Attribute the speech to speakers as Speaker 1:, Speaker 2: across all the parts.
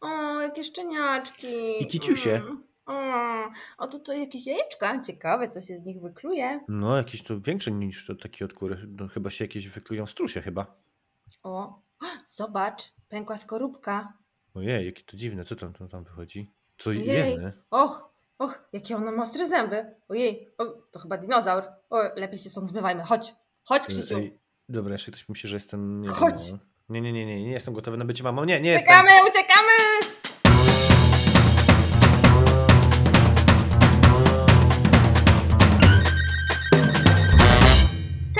Speaker 1: O, jakie szczeniaczki.
Speaker 2: I kiciusie.
Speaker 1: Mm. O, o, tu, tu jakieś jajeczka. Ciekawe, co się z nich wykluje.
Speaker 2: No, jakieś to większe niż to takie od kury. No, chyba się jakieś wyklują strusie chyba.
Speaker 1: O, zobacz, pękła skorupka.
Speaker 2: Ojej, jakie to dziwne. Co tam, tam, tam wychodzi? Co
Speaker 1: Ojej,
Speaker 2: jemy?
Speaker 1: och, och, jakie ono ma ostre zęby. Ojej, o, to chyba dinozaur. O, lepiej się stąd zmywajmy. Chodź, chodź,
Speaker 2: E,
Speaker 1: Krzysiu.
Speaker 2: Ej, dobra, jeszcze ktoś myśli, że jestem, nie wiem,
Speaker 1: Chodź.
Speaker 2: mamą. Nie, nie, nie, nie, nie jestem gotowy na bycie mamą. Nie, nie jestem.
Speaker 1: Uciekamy, uciekamy!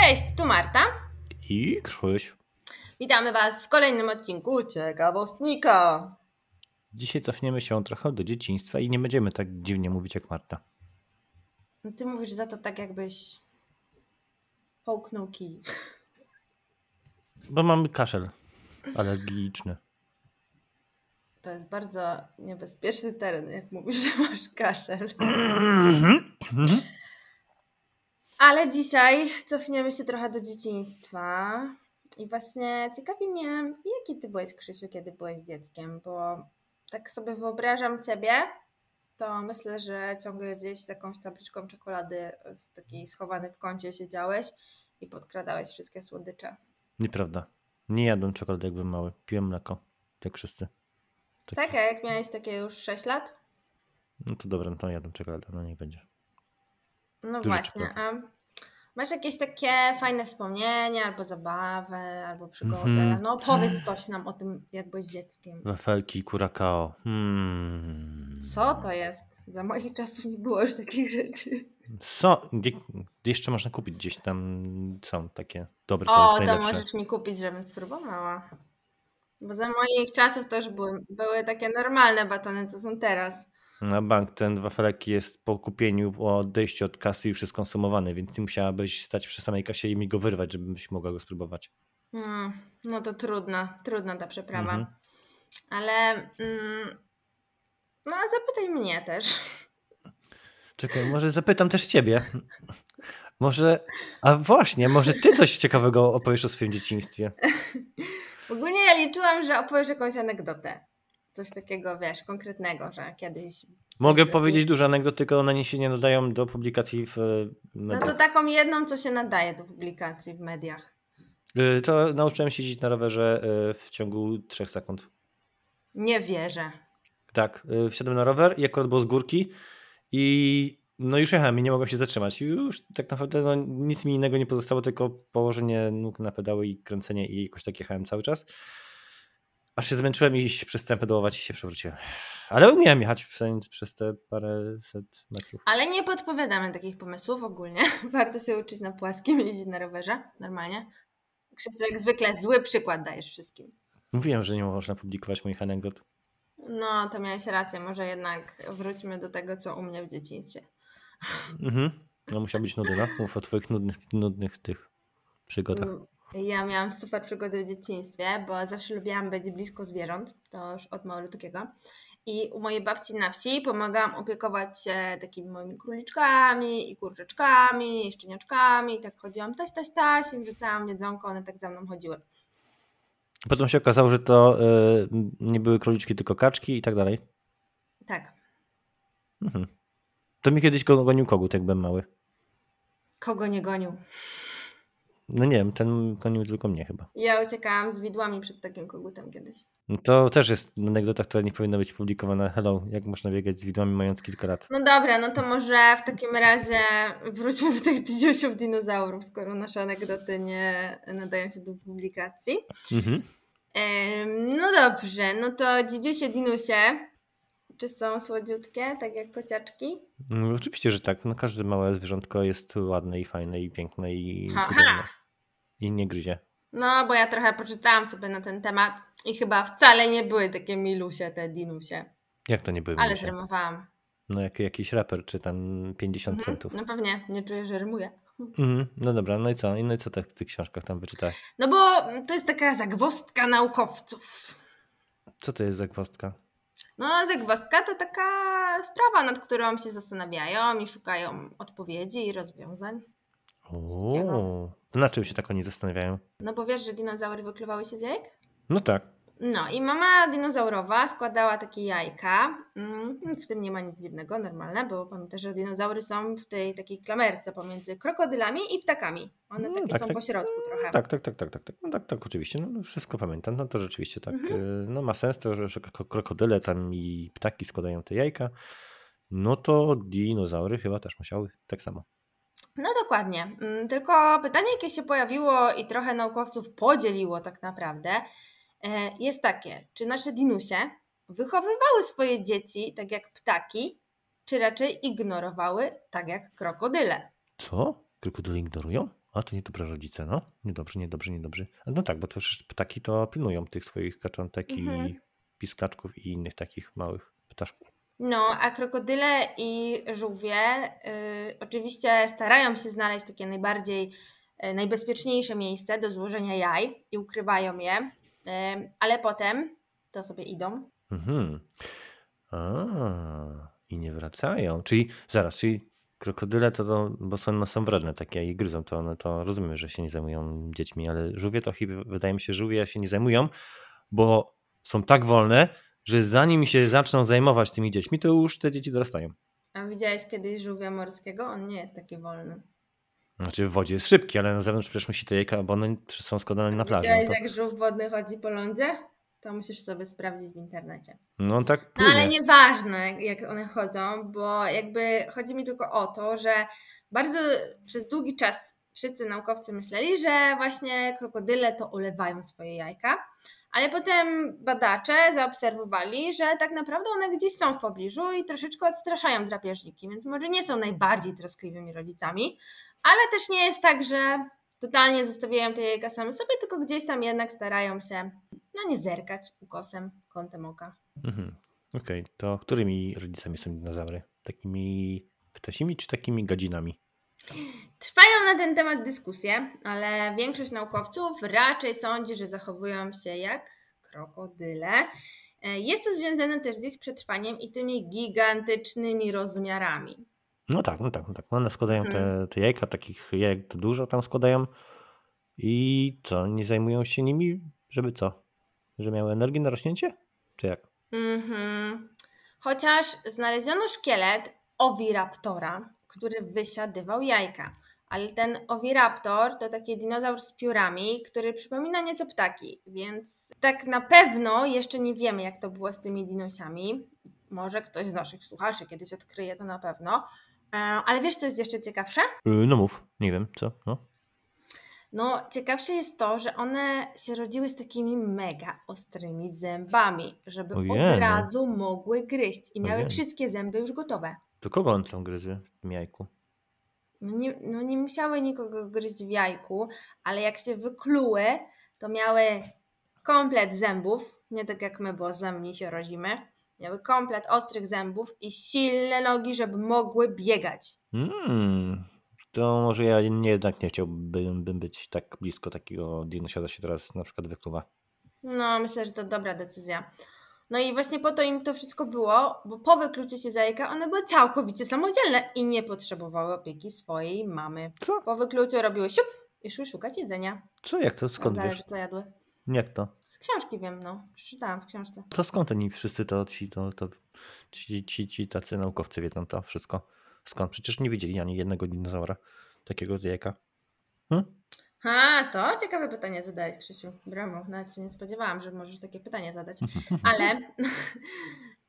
Speaker 1: Cześć, tu Marta.
Speaker 2: I Krzyś.
Speaker 1: Witamy Was w kolejnym odcinku Ciekawostnika.
Speaker 2: Dzisiaj cofniemy się trochę do dzieciństwa i nie będziemy tak dziwnie mówić jak Marta.
Speaker 1: No Ty mówisz za to tak, jakbyś połknął kij.
Speaker 2: Bo mam kaszel alergiczny.
Speaker 1: To jest bardzo niebezpieczny teren, jak mówisz, że masz kaszel. Ale dzisiaj cofniemy się trochę do dzieciństwa. I właśnie ciekawi mnie, jaki ty byłeś, Krzysiu, kiedy byłeś dzieckiem, bo tak sobie wyobrażam ciebie, to myślę, że ciągle gdzieś z jakąś tabliczką czekolady z takiej schowany w kącie siedziałeś i podkradałeś wszystkie słodycze.
Speaker 2: Nieprawda. Nie jadłem czekolady, jak byłem mały. Piłem mleko. Jak wszyscy.
Speaker 1: Tak,
Speaker 2: Taki.
Speaker 1: a jak miałeś takie już 6 lat?
Speaker 2: No to dobra, no to jadłem czekoladę. No niech będzie.
Speaker 1: No
Speaker 2: Dużo
Speaker 1: właśnie,
Speaker 2: czekolady.
Speaker 1: a masz jakieś takie fajne wspomnienia, albo zabawę, albo przygodę?
Speaker 2: Mhm.
Speaker 1: No powiedz coś nam o tym, jak byłeś dzieckiem.
Speaker 2: Wafelki, kurakao. Hmm.
Speaker 1: Co to jest? Za moich czasów nie było już takich rzeczy.
Speaker 2: So, gdzie, jeszcze można kupić gdzieś tam są takie. Dobre, to jest
Speaker 1: O, to
Speaker 2: najlepsze.
Speaker 1: możesz mi kupić, żebym spróbowała. Bo za moich czasów też były, były takie normalne batony, co są teraz.
Speaker 2: Na bank ten wafelek jest po kupieniu, po odejściu od kasy już jest konsumowany, więc nie musiałabyś stać przy samej kasie i mi go wyrwać, żebyś mogła go spróbować.
Speaker 1: Mm, no to trudna, trudna ta przeprawa.
Speaker 2: Mhm.
Speaker 1: Ale mm, no a zapytaj mnie też.
Speaker 2: Czekaj, może zapytam też ciebie. Może, a właśnie, może ty coś ciekawego opowiesz o swoim dzieciństwie.
Speaker 1: Ogólnie ja liczyłam, że opowiesz jakąś anegdotę. Coś takiego, wiesz, konkretnego, że kiedyś coś
Speaker 2: Mogę
Speaker 1: zrobił.
Speaker 2: powiedzieć dużo anegdot, tylko one nie- się nie nadają do publikacji w e,
Speaker 1: No to
Speaker 2: mediach.
Speaker 1: taką jedną, co się nadaje do publikacji w mediach.
Speaker 2: E, To nauczyłem się jeździć na rowerze e, w ciągu trzech sekund.
Speaker 1: Nie wierzę.
Speaker 2: Tak, y, wsiadłem na rower, i akurat było z górki i no już jechałem i nie mogłem się zatrzymać. I Już tak naprawdę no, nic mi innego nie pozostało, tylko położenie nóg na pedały i kręcenie i jakoś tak jechałem cały czas. Aż się zmęczyłem i się przestałem pedałować i się przewróciłem. Ale umiałem jechać w sensie przez te paręset metrów.
Speaker 1: Ale nie podpowiadamy takich pomysłów ogólnie. Warto się uczyć na płaskim jeździć na rowerze, normalnie. Krzysztof, jak zwykle zły przykład dajesz wszystkim.
Speaker 2: Mówiłem, że nie można publikować moich anegdot.
Speaker 1: No, to miałeś rację. Może jednak wróćmy do tego, co u mnie w dzieciństwie.
Speaker 2: Mhm. No musiał być nudyna. Mów o twoich nudnych, nudnych tych przygodach.
Speaker 1: Mm, Ja miałam super przygody w dzieciństwie, bo zawsze lubiłam być blisko zwierząt, to już od malutkiego. I u mojej babci na wsi pomagałam opiekować się takimi moimi króliczkami i kurczyczkami i szczeniaczkami. I tak chodziłam taś, taś, taś i rzucałam jedzonko, one tak za mną chodziły.
Speaker 2: Potem się okazało, że to y, nie były króliczki, tylko kaczki i tak dalej.
Speaker 1: Tak,
Speaker 2: Mhm. To mi kiedyś go- gonił kogut, jak byłem mały.
Speaker 1: kogo nie gonił.
Speaker 2: No nie wiem, ten gonił tylko mnie chyba.
Speaker 1: Ja uciekałam z widłami przed takim kogutem kiedyś.
Speaker 2: No To też jest anegdota, która nie powinna być publikowana. Hello, jak można biegać z widłami mając kilka lat?
Speaker 1: No dobra, no to może w takim razie wróćmy do tych dziusiów dinozaurów, skoro nasze anegdoty nie nadają się do publikacji.
Speaker 2: Mhm.
Speaker 1: Em, No dobrze, no to dzidziusie, dinusie, czy są słodziutkie, tak jak kociaczki?
Speaker 2: No, oczywiście, że tak. No, każde małe zwierzątko jest ładne i fajne i piękne i
Speaker 1: Ha,
Speaker 2: cudowne.
Speaker 1: ha!
Speaker 2: I nie gryzie.
Speaker 1: No, bo ja trochę poczytałam sobie na ten temat i chyba wcale nie były takie milusie te dinusie,
Speaker 2: Jak to nie były
Speaker 1: ale
Speaker 2: minusie?
Speaker 1: zrymowałam.
Speaker 2: No jak jakiś raper czy tam 50
Speaker 1: Mhm.
Speaker 2: centów.
Speaker 1: No pewnie, nie czuję, że rymuję.
Speaker 2: Mhm. No dobra, no i co? I No i co tak w tych książkach tam wyczytałeś?
Speaker 1: No bo to jest taka zagwozdka naukowców.
Speaker 2: Co to jest za gwozdka?
Speaker 1: No, zagwozdka to taka sprawa, nad którą się zastanawiają i szukają odpowiedzi i rozwiązań. Wszystkiego.
Speaker 2: Ooo. Na czym się tak oni zastanawiają?
Speaker 1: No bo wiesz, że dinozaury wykluwały się z jajek?
Speaker 2: No tak.
Speaker 1: No i mama dinozaurowa składała takie jajka. Mm, W tym nie ma nic dziwnego, normalne, bo pamiętasz, że dinozaury są w tej takiej klamerce pomiędzy krokodylami i ptakami. One
Speaker 2: Mm,
Speaker 1: takie
Speaker 2: tak,
Speaker 1: są
Speaker 2: tak.
Speaker 1: po środku trochę.
Speaker 2: Tak, tak, tak, tak, tak, tak. No tak, tak, oczywiście. No, no wszystko pamiętam. No to rzeczywiście tak.
Speaker 1: Mhm.
Speaker 2: y, No ma sens to, że, że kro- krokodyle tam i ptaki składają te jajka. No to dinozaury chyba też musiały tak samo.
Speaker 1: No dokładnie. Mm, Tylko pytanie, jakie się pojawiło i trochę naukowców podzieliło tak naprawdę, e, jest takie, czy nasze dinusie wychowywały swoje dzieci tak jak ptaki, czy raczej ignorowały tak jak krokodyle?
Speaker 2: Co? Krokodyle ignorują? A to niedobre rodzice, no. Niedobrze, niedobrze, niedobrze. A No tak, bo to przecież ptaki to pilnują tych swoich kaczątek
Speaker 1: Mhm.
Speaker 2: i piskaczków i innych takich małych ptaszków.
Speaker 1: No, a krokodyle i żółwie y, oczywiście starają się znaleźć takie najbardziej, y, najbezpieczniejsze miejsce do złożenia jaj i ukrywają je, y, ale potem to sobie idą.
Speaker 2: Mhm. A, i nie wracają. Czyli zaraz, czyli krokodyle to, to bo są, no są wredne takie i gryzą, to one to rozumiem, że się nie zajmują dziećmi, ale żółwie to chyba, wydaje mi się, żółwie się nie zajmują, bo są tak wolne, że zanim się zaczną zajmować tymi dziećmi, to już te dzieci dorastają.
Speaker 1: A widziałeś kiedyś żółwia morskiego? On nie jest taki wolny.
Speaker 2: Znaczy w wodzie jest szybki, ale na zewnątrz przecież musi te jajka, bo one są składane na plaży. No,
Speaker 1: Widziałeś,
Speaker 2: to,
Speaker 1: jak żółw wodny chodzi po lądzie? To musisz sobie sprawdzić w internecie.
Speaker 2: no on tak
Speaker 1: No ale
Speaker 2: płynie.
Speaker 1: nieważne, jak one chodzą, bo jakby chodzi mi tylko o to, że bardzo przez długi czas wszyscy naukowcy myśleli, że właśnie krokodyle to olewają swoje jajka, ale potem badacze zaobserwowali, że tak naprawdę one gdzieś są w pobliżu i troszeczkę odstraszają drapieżniki, więc może nie są najbardziej troskliwymi rodzicami, ale też nie jest tak, że totalnie zostawiają te jajka same sobie, tylko gdzieś tam jednak starają się no nie zerkać ukosem, kątem oka.
Speaker 2: Mhm. Okej, to którymi rodzicami są dinozaury? Takimi ptasimi czy takimi gadzinami?
Speaker 1: Trwają na ten temat dyskusje, ale większość naukowców raczej sądzi, że zachowują się jak krokodyle. E, Jest to związane też z ich przetrwaniem i tymi gigantycznymi rozmiarami.
Speaker 2: No tak, no tak, no tak. One składają
Speaker 1: Mhm.
Speaker 2: te, te jajka, takich jajek to dużo tam składają. I co, nie zajmują się nimi, żeby co? Że miały energię na rośnięcie? Czy jak?
Speaker 1: Mhm. Chociaż znaleziono szkielet owiraptora, który wysiadywał jajka. Ale ten owiraptor to taki dinozaur z piórami, który przypomina nieco ptaki, więc tak na pewno jeszcze nie wiemy, jak to było z tymi dinosiami. Może ktoś z naszych słuchaczy kiedyś odkryje to na pewno. E, Ale wiesz, co jest jeszcze ciekawsze?
Speaker 2: Yy, no mów, nie wiem, co? No.
Speaker 1: No, ciekawsze jest to, że one się rodziły z takimi mega ostrymi zębami, żeby od
Speaker 2: Ojej, no.
Speaker 1: razu mogły gryźć i miały
Speaker 2: Ojej.
Speaker 1: wszystkie zęby już gotowe.
Speaker 2: To kogo on tam gryzły w tym jajku?
Speaker 1: No nie, no nie musiały nikogo gryźć w jajku, ale jak się wykluły, to miały komplet zębów, nie tak jak my, bo z zębami się rodzimy. Miały komplet ostrych zębów i silne nogi, żeby mogły biegać.
Speaker 2: Mm, to może ja nie, jednak nie chciałbym bym być tak blisko takiego dinosiada się teraz na przykład wykluwa.
Speaker 1: No, myślę, że to dobra decyzja. No i właśnie po to im to wszystko było, bo po wykluciu się z jajka one były całkowicie samodzielne i nie potrzebowały opieki swojej mamy.
Speaker 2: Co?
Speaker 1: Po wykluciu robiły siup i szły szukać jedzenia.
Speaker 2: Co? Jak to?
Speaker 1: No,
Speaker 2: Skąd
Speaker 1: zależy
Speaker 2: wiesz?
Speaker 1: co jadły.
Speaker 2: Jak to?
Speaker 1: Z książki wiem, no. Przeczytałam w książce.
Speaker 2: To skąd oni wszyscy to ci, to, to ci, ci, ci tacy naukowcy wiedzą to wszystko? Skąd? Przecież nie widzieli ani jednego dinozaura takiego z jajka. Hmm?
Speaker 1: A, to ciekawe pytanie zadałeś, Krzysiu. Brawo, nawet się nie spodziewałam, że możesz takie pytanie zadać. Ale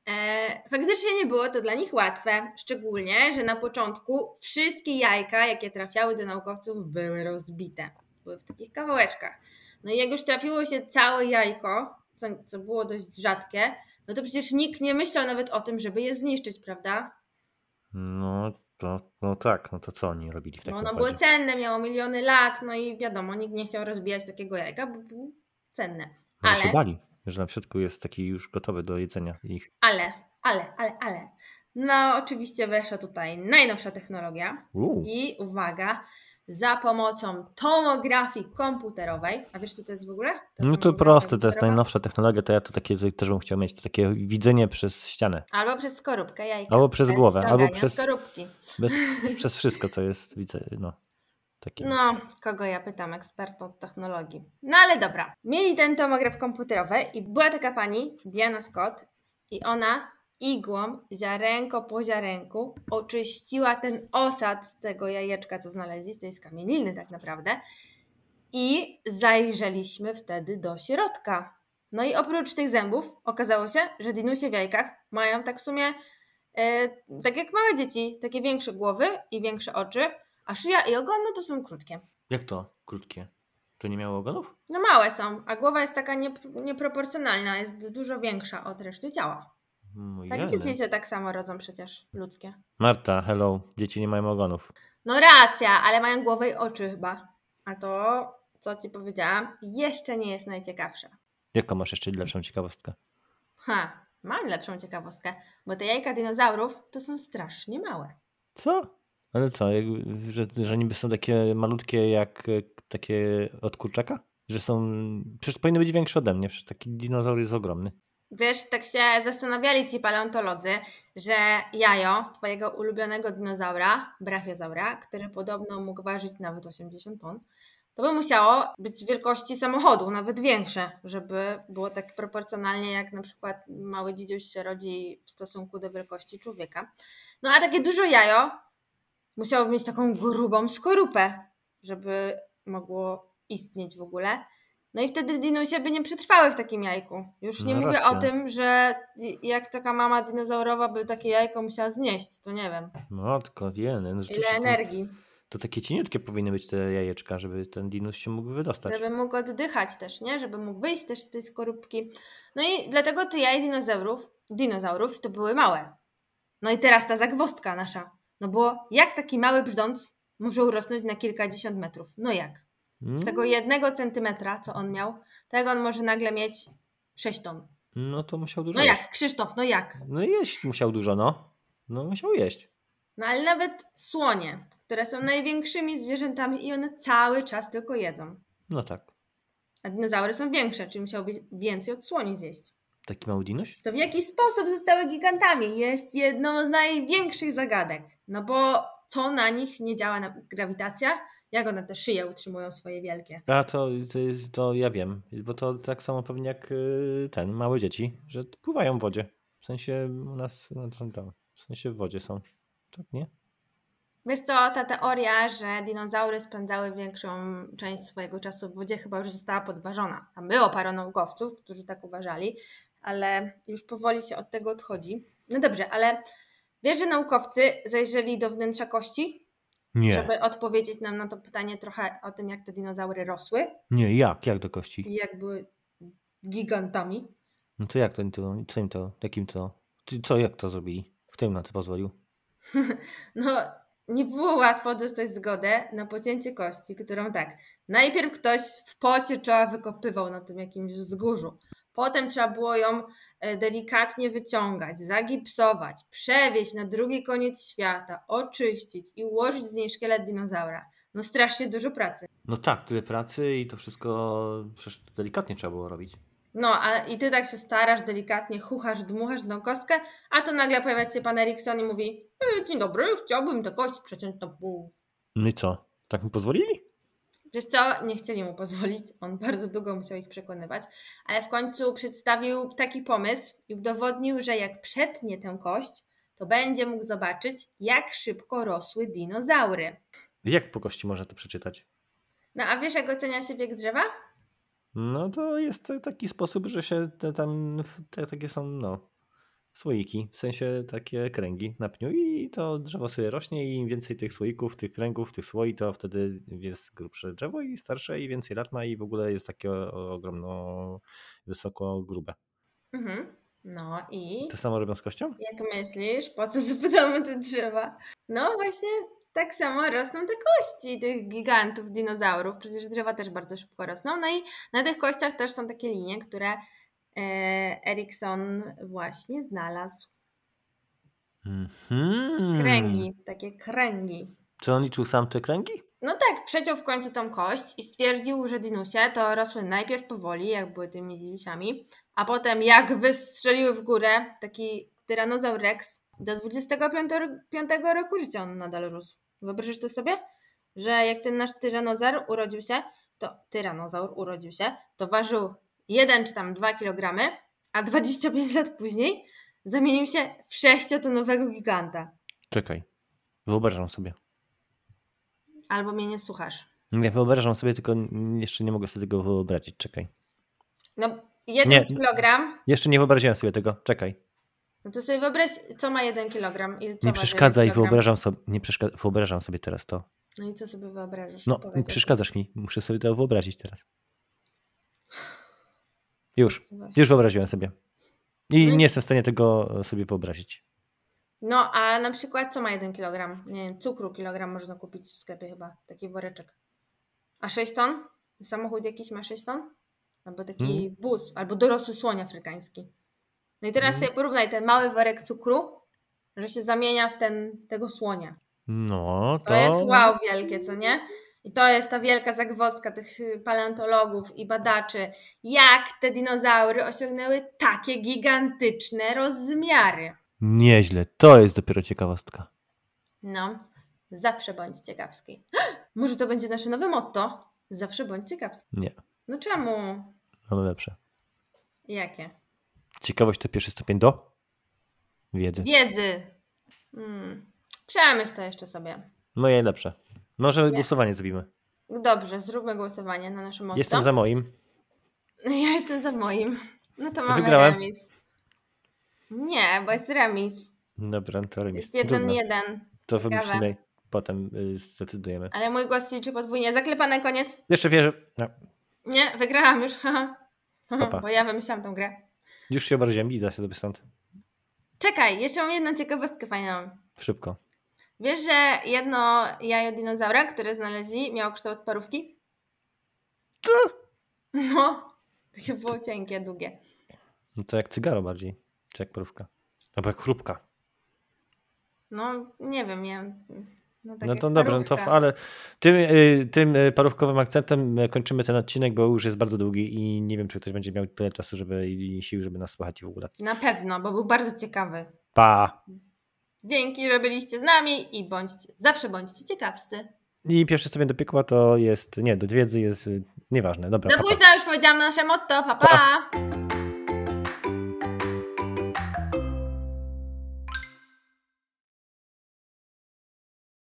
Speaker 1: e, faktycznie nie było to dla nich łatwe, szczególnie, że na początku wszystkie jajka, jakie trafiały do naukowców, były rozbite. Były w takich kawałeczkach. No i jak już trafiło się całe jajko, co, co było dość rzadkie, no to przecież nikt nie myślał nawet o tym, żeby je zniszczyć, prawda?
Speaker 2: No, to, no tak, no to co oni robili w
Speaker 1: bo
Speaker 2: takim
Speaker 1: ono było
Speaker 2: układzie?
Speaker 1: cenne, miało miliony lat, no i wiadomo, nikt nie chciał rozbijać takiego jajka, bo było cenne.
Speaker 2: Może się
Speaker 1: Ale,
Speaker 2: bali, że na środku jest taki już gotowy do jedzenia ich.
Speaker 1: ale, ale, ale, ale. No, oczywiście weszła tutaj najnowsza technologia
Speaker 2: Uuu,
Speaker 1: i uwaga, za pomocą tomografii komputerowej. A wiesz, co to jest w ogóle? Ta
Speaker 2: No to
Speaker 1: tomografia
Speaker 2: proste, to jest
Speaker 1: komputerowa?
Speaker 2: najnowsza technologia, to ja to takie z- też bym chciał mieć, to takie widzenie przez ścianę,
Speaker 1: Albo przez skorupkę jajka,
Speaker 2: albo przez
Speaker 1: bez
Speaker 2: głowę, albo
Speaker 1: ściągania
Speaker 2: przez,
Speaker 1: skorupki.
Speaker 2: bez, przez wszystko, co jest, widzę, no. Takim.
Speaker 1: No, kogo ja pytam, eksperta od technologii. No ale dobra. Mieli ten tomograf komputerowy i była taka pani, Diana Scott, i ona igłą, ziarenko po ziarenku, oczyściła ten osad z tego jajeczka, co znaleźli, z tej skamieliny tak naprawdę. I zajrzeliśmy wtedy do środka. No i oprócz tych zębów okazało się, że dinusie w jajkach mają tak w sumie, e, tak jak małe dzieci, takie większe głowy i większe oczy, a szyja i ogon no to są krótkie.
Speaker 2: Jak to? Krótkie. To nie miało ogonów?
Speaker 1: No małe są, a głowa jest taka niep- nieproporcjonalna, jest dużo większa od reszty ciała.
Speaker 2: Mój
Speaker 1: Tak
Speaker 2: Jelen.
Speaker 1: dzieci się tak samo rodzą przecież, ludzkie.
Speaker 2: Marta, hello. Dzieci nie mają ogonów.
Speaker 1: No racja, ale mają głowę i oczy chyba. A to, co ci powiedziałam, jeszcze nie jest najciekawsze.
Speaker 2: Jaką masz jeszcze lepszą ciekawostkę?
Speaker 1: Ha, mam lepszą ciekawostkę, bo te jajka dinozaurów to są strasznie małe.
Speaker 2: Co? Ale co, jakby, że, że niby są takie malutkie jak e, takie od kurczaka? Że są... Przecież powinny być większe ode mnie, przecież taki dinozaur jest ogromny.
Speaker 1: Wiesz, tak się zastanawiali ci paleontolodzy, że jajo twojego ulubionego dinozaura, brachiozaura, który podobno mógł ważyć nawet 80 ton, to by musiało być wielkości samochodu, nawet większe, żeby było tak proporcjonalnie jak na przykład mały dzidziuś się rodzi w stosunku do wielkości człowieka. No a takie duże jajo musiało mieć taką grubą skorupę, żeby mogło istnieć w ogóle. No i wtedy dinusie by nie przetrwały w takim jajku. Już nie
Speaker 2: No
Speaker 1: mówię
Speaker 2: racja.
Speaker 1: o tym, że jak taka mama dinozaurowa by takie jajko musiała znieść, to nie wiem.
Speaker 2: Matko, jeden.
Speaker 1: Ile energii,
Speaker 2: To takie cieniutkie powinny być te jajeczka, żeby ten dinus się mógł wydostać.
Speaker 1: żeby mógł oddychać też, nie? Żeby mógł wyjść też z tej skorupki. No i dlatego te jaja dinozaurów, dinozaurów to były małe. No i teraz ta zagwozdka nasza. No bo jak taki mały brzdąc może urosnąć na kilkadziesiąt metrów? No jak? Z
Speaker 2: Mm,
Speaker 1: tego jednego centymetra, co on miał, tego on może nagle mieć 6 ton.
Speaker 2: No to musiał dużo
Speaker 1: No
Speaker 2: jeść.
Speaker 1: jak, Krzysztof, no jak?
Speaker 2: No jeść musiał dużo, no. No musiał jeść.
Speaker 1: No ale nawet słonie, które są największymi zwierzętami i one cały czas tylko jedzą.
Speaker 2: No tak.
Speaker 1: A dinozaury są większe, czyli musiałby więcej od słoni zjeść.
Speaker 2: Taki mały dinuś?
Speaker 1: To w jaki sposób zostały gigantami jest jedną z największych zagadek. No bo co na nich nie działa na grawitacja? Jak one te szyje utrzymują swoje wielkie?
Speaker 2: A to, to, to ja wiem, bo to tak samo pewnie jak y, ten, małe dzieci, że pływają w wodzie. W sensie u nas, no, to tam, w sensie w wodzie są. Tak, nie?
Speaker 1: Wiesz co, ta teoria, że dinozaury spędzały większą część swojego czasu w wodzie chyba już została podważona. Tam było parę naukowców, którzy tak uważali, ale już powoli się od tego odchodzi. No dobrze, ale wiesz, że naukowcy zajrzeli do wnętrza kości?
Speaker 2: Nie,
Speaker 1: żeby odpowiedzieć nam na to pytanie trochę o tym, jak te dinozaury rosły
Speaker 2: nie, jak? Jak do kości?
Speaker 1: i jak były gigantami.
Speaker 2: No to jak to, to co im to, jakim to, ty- co, jak to zrobili? Kto im na to pozwolił?
Speaker 1: No, nie było łatwo dostać zgodę na pocięcie kości, którą tak, najpierw ktoś w pocie czoła wykopywał na tym jakimś wzgórzu. Potem trzeba było ją e, delikatnie wyciągać, zagipsować, przewieźć na drugi koniec świata, oczyścić i ułożyć z niej szkielet dinozaura. No strasznie dużo pracy.
Speaker 2: No tak, tyle pracy i to wszystko przecież delikatnie trzeba było robić.
Speaker 1: No, a i ty tak się starasz, delikatnie chuchasz, dmuchasz tą kostkę, a tu nagle pojawia się pan Erikson i mówi: e, Dzień dobry, chciałbym tę kość przeciąć na pół.
Speaker 2: No i co? Tak mu pozwolili?
Speaker 1: Wiesz co, nie chcieli mu pozwolić, on bardzo długo musiał ich przekonywać, ale w końcu przedstawił taki pomysł i udowodnił, że jak przetnie tę kość, to będzie mógł zobaczyć, jak szybko rosły dinozaury.
Speaker 2: Jak po kości można to przeczytać?
Speaker 1: No a wiesz, jak ocenia się wiek drzewa?
Speaker 2: No to jest to taki sposób, że się te tam w- te, takie są, no, słoiki, w sensie takie kręgi na pniu i to drzewo sobie rośnie i im więcej tych słoików, tych kręgów, tych słoi, to wtedy jest grubsze drzewo i starsze i więcej lat ma i w ogóle jest takie o- o- ogromno wysoko grube.
Speaker 1: Mhm. No i.
Speaker 2: To samo robią z kością?
Speaker 1: Jak myślisz, po co zapytamy te drzewa? No właśnie tak samo rosną te kości tych gigantów, dinozaurów. Przecież drzewa też bardzo szybko rosną. No i na tych kościach też są takie linie, które e, Erikson właśnie znalazł.
Speaker 2: Mhm.
Speaker 1: Kręgi, takie kręgi.
Speaker 2: Czy on liczył sam te kręgi?
Speaker 1: No tak, przeciął w końcu tą kość i stwierdził, że dinusie to rosły najpierw powoli, jak były tymi dinusiami, a potem jak wystrzeliły w górę, taki tyranozaur rex, do 25 roku życia on nadal rósł. Wyobrażasz to sobie? że jak ten nasz tyranozaur urodził się, to tyranozaur urodził się, to ważył 1 czy tam 2 kg, a 25 lat później zamienił się w 6-tonowego giganta.
Speaker 2: Czekaj. Wyobrażam sobie.
Speaker 1: Albo mnie nie słuchasz.
Speaker 2: Nie, wyobrażam sobie, tylko n- jeszcze nie mogę sobie tego wyobrazić. Czekaj.
Speaker 1: No, 1
Speaker 2: Nie.
Speaker 1: kilogram,
Speaker 2: Jeszcze nie wyobraziłem sobie tego. Czekaj.
Speaker 1: no to sobie wyobraź, co ma 1 kilogram. I co
Speaker 2: Nie
Speaker 1: waży
Speaker 2: przeszkadzaj,
Speaker 1: jeden kilogram.
Speaker 2: wyobrażam sobie, nie przeszka... wyobrażam sobie teraz to.
Speaker 1: No i co sobie wyobrażasz?
Speaker 2: No,
Speaker 1: Powiedz.
Speaker 2: przeszkadzasz mi. Muszę sobie to wyobrazić teraz. Już.
Speaker 1: Właśnie.
Speaker 2: Już wyobraziłem sobie. I
Speaker 1: Mhm.
Speaker 2: nie jestem w stanie tego e, sobie wyobrazić.
Speaker 1: No, a na przykład co ma 1 kilogram? Nie wiem, cukru kilogram można kupić w sklepie chyba, taki woreczek. A 6 ton? Samochód jakiś ma 6 ton? Albo taki
Speaker 2: Mhm.
Speaker 1: bus, albo dorosły słoń afrykański. No i teraz
Speaker 2: Mhm.
Speaker 1: sobie porównaj ten mały worek cukru, że się zamienia w ten, tego słonia.
Speaker 2: No,
Speaker 1: To
Speaker 2: to...
Speaker 1: jest wow wielkie, co nie? I to jest ta wielka zagwozdka tych y, paleontologów i badaczy, jak te dinozaury osiągnęły takie gigantyczne rozmiary.
Speaker 2: Nieźle. To jest dopiero ciekawostka.
Speaker 1: No, zawsze bądź ciekawski. Może to będzie nasze nowe motto? Zawsze bądź ciekawski.
Speaker 2: Nie.
Speaker 1: No czemu?
Speaker 2: Mamy lepsze.
Speaker 1: Jakie?
Speaker 2: Ciekawość to pierwszy stopień do? Wiedzy.
Speaker 1: Wiedzy. Hmm. Przemyśl to jeszcze sobie.
Speaker 2: Moje lepsze. No Może
Speaker 1: Nie.
Speaker 2: głosowanie zrobimy.
Speaker 1: Dobrze, zróbmy głosowanie na nasze motto.
Speaker 2: Jestem za moim.
Speaker 1: Ja jestem za moim. No to mamy
Speaker 2: Wygrałem.
Speaker 1: remis. Nie, bo jest remis.
Speaker 2: Dobra, to remis.
Speaker 1: Jest jeden,
Speaker 2: Trudno.
Speaker 1: jeden.
Speaker 2: To
Speaker 1: Ciekawe.
Speaker 2: wymyślimy. Potem y, zdecydujemy.
Speaker 1: Ale mój głos liczy podwójnie. Zaklepane koniec.
Speaker 2: Jeszcze wierzę. No,
Speaker 1: Nie, wygrałam już. haha.
Speaker 2: Pa, pa.
Speaker 1: Bo ja wymyślałam tą grę.
Speaker 2: już się obraziłem. Idę sobie stąd.
Speaker 1: Czekaj, jeszcze mam jedną ciekawostkę fajną.
Speaker 2: Szybko.
Speaker 1: Wiesz, że jedno jajo dinozaura, które znaleźli, miało kształt parówki? Co? No, takie było cienkie, długie.
Speaker 2: No to jak cygaro bardziej. Czy jak porówka. Albo jak chrupka.
Speaker 1: Tak No, nie wiem, ja... No, tak
Speaker 2: no
Speaker 1: jak
Speaker 2: to dobrze, no to,
Speaker 1: parówka.
Speaker 2: f- ale tym, y, tym y, parówkowym akcentem y, kończymy ten odcinek, bo już jest bardzo długi i nie wiem, czy ktoś będzie miał tyle czasu żeby, i sił, żeby nas słuchać i w ogóle.
Speaker 1: Na pewno, bo był bardzo ciekawy.
Speaker 2: Pa!
Speaker 1: Dzięki, że byliście z nami i bądźcie, zawsze bądźcie ciekawscy.
Speaker 2: I pierwszy stopień do piekła to jest. Nie, do wiedzy jest. y, Nieważne. Dobra.
Speaker 1: Za
Speaker 2: pa, pa.
Speaker 1: późno już powiedziałam nasze motto, pa pa!
Speaker 2: Pa.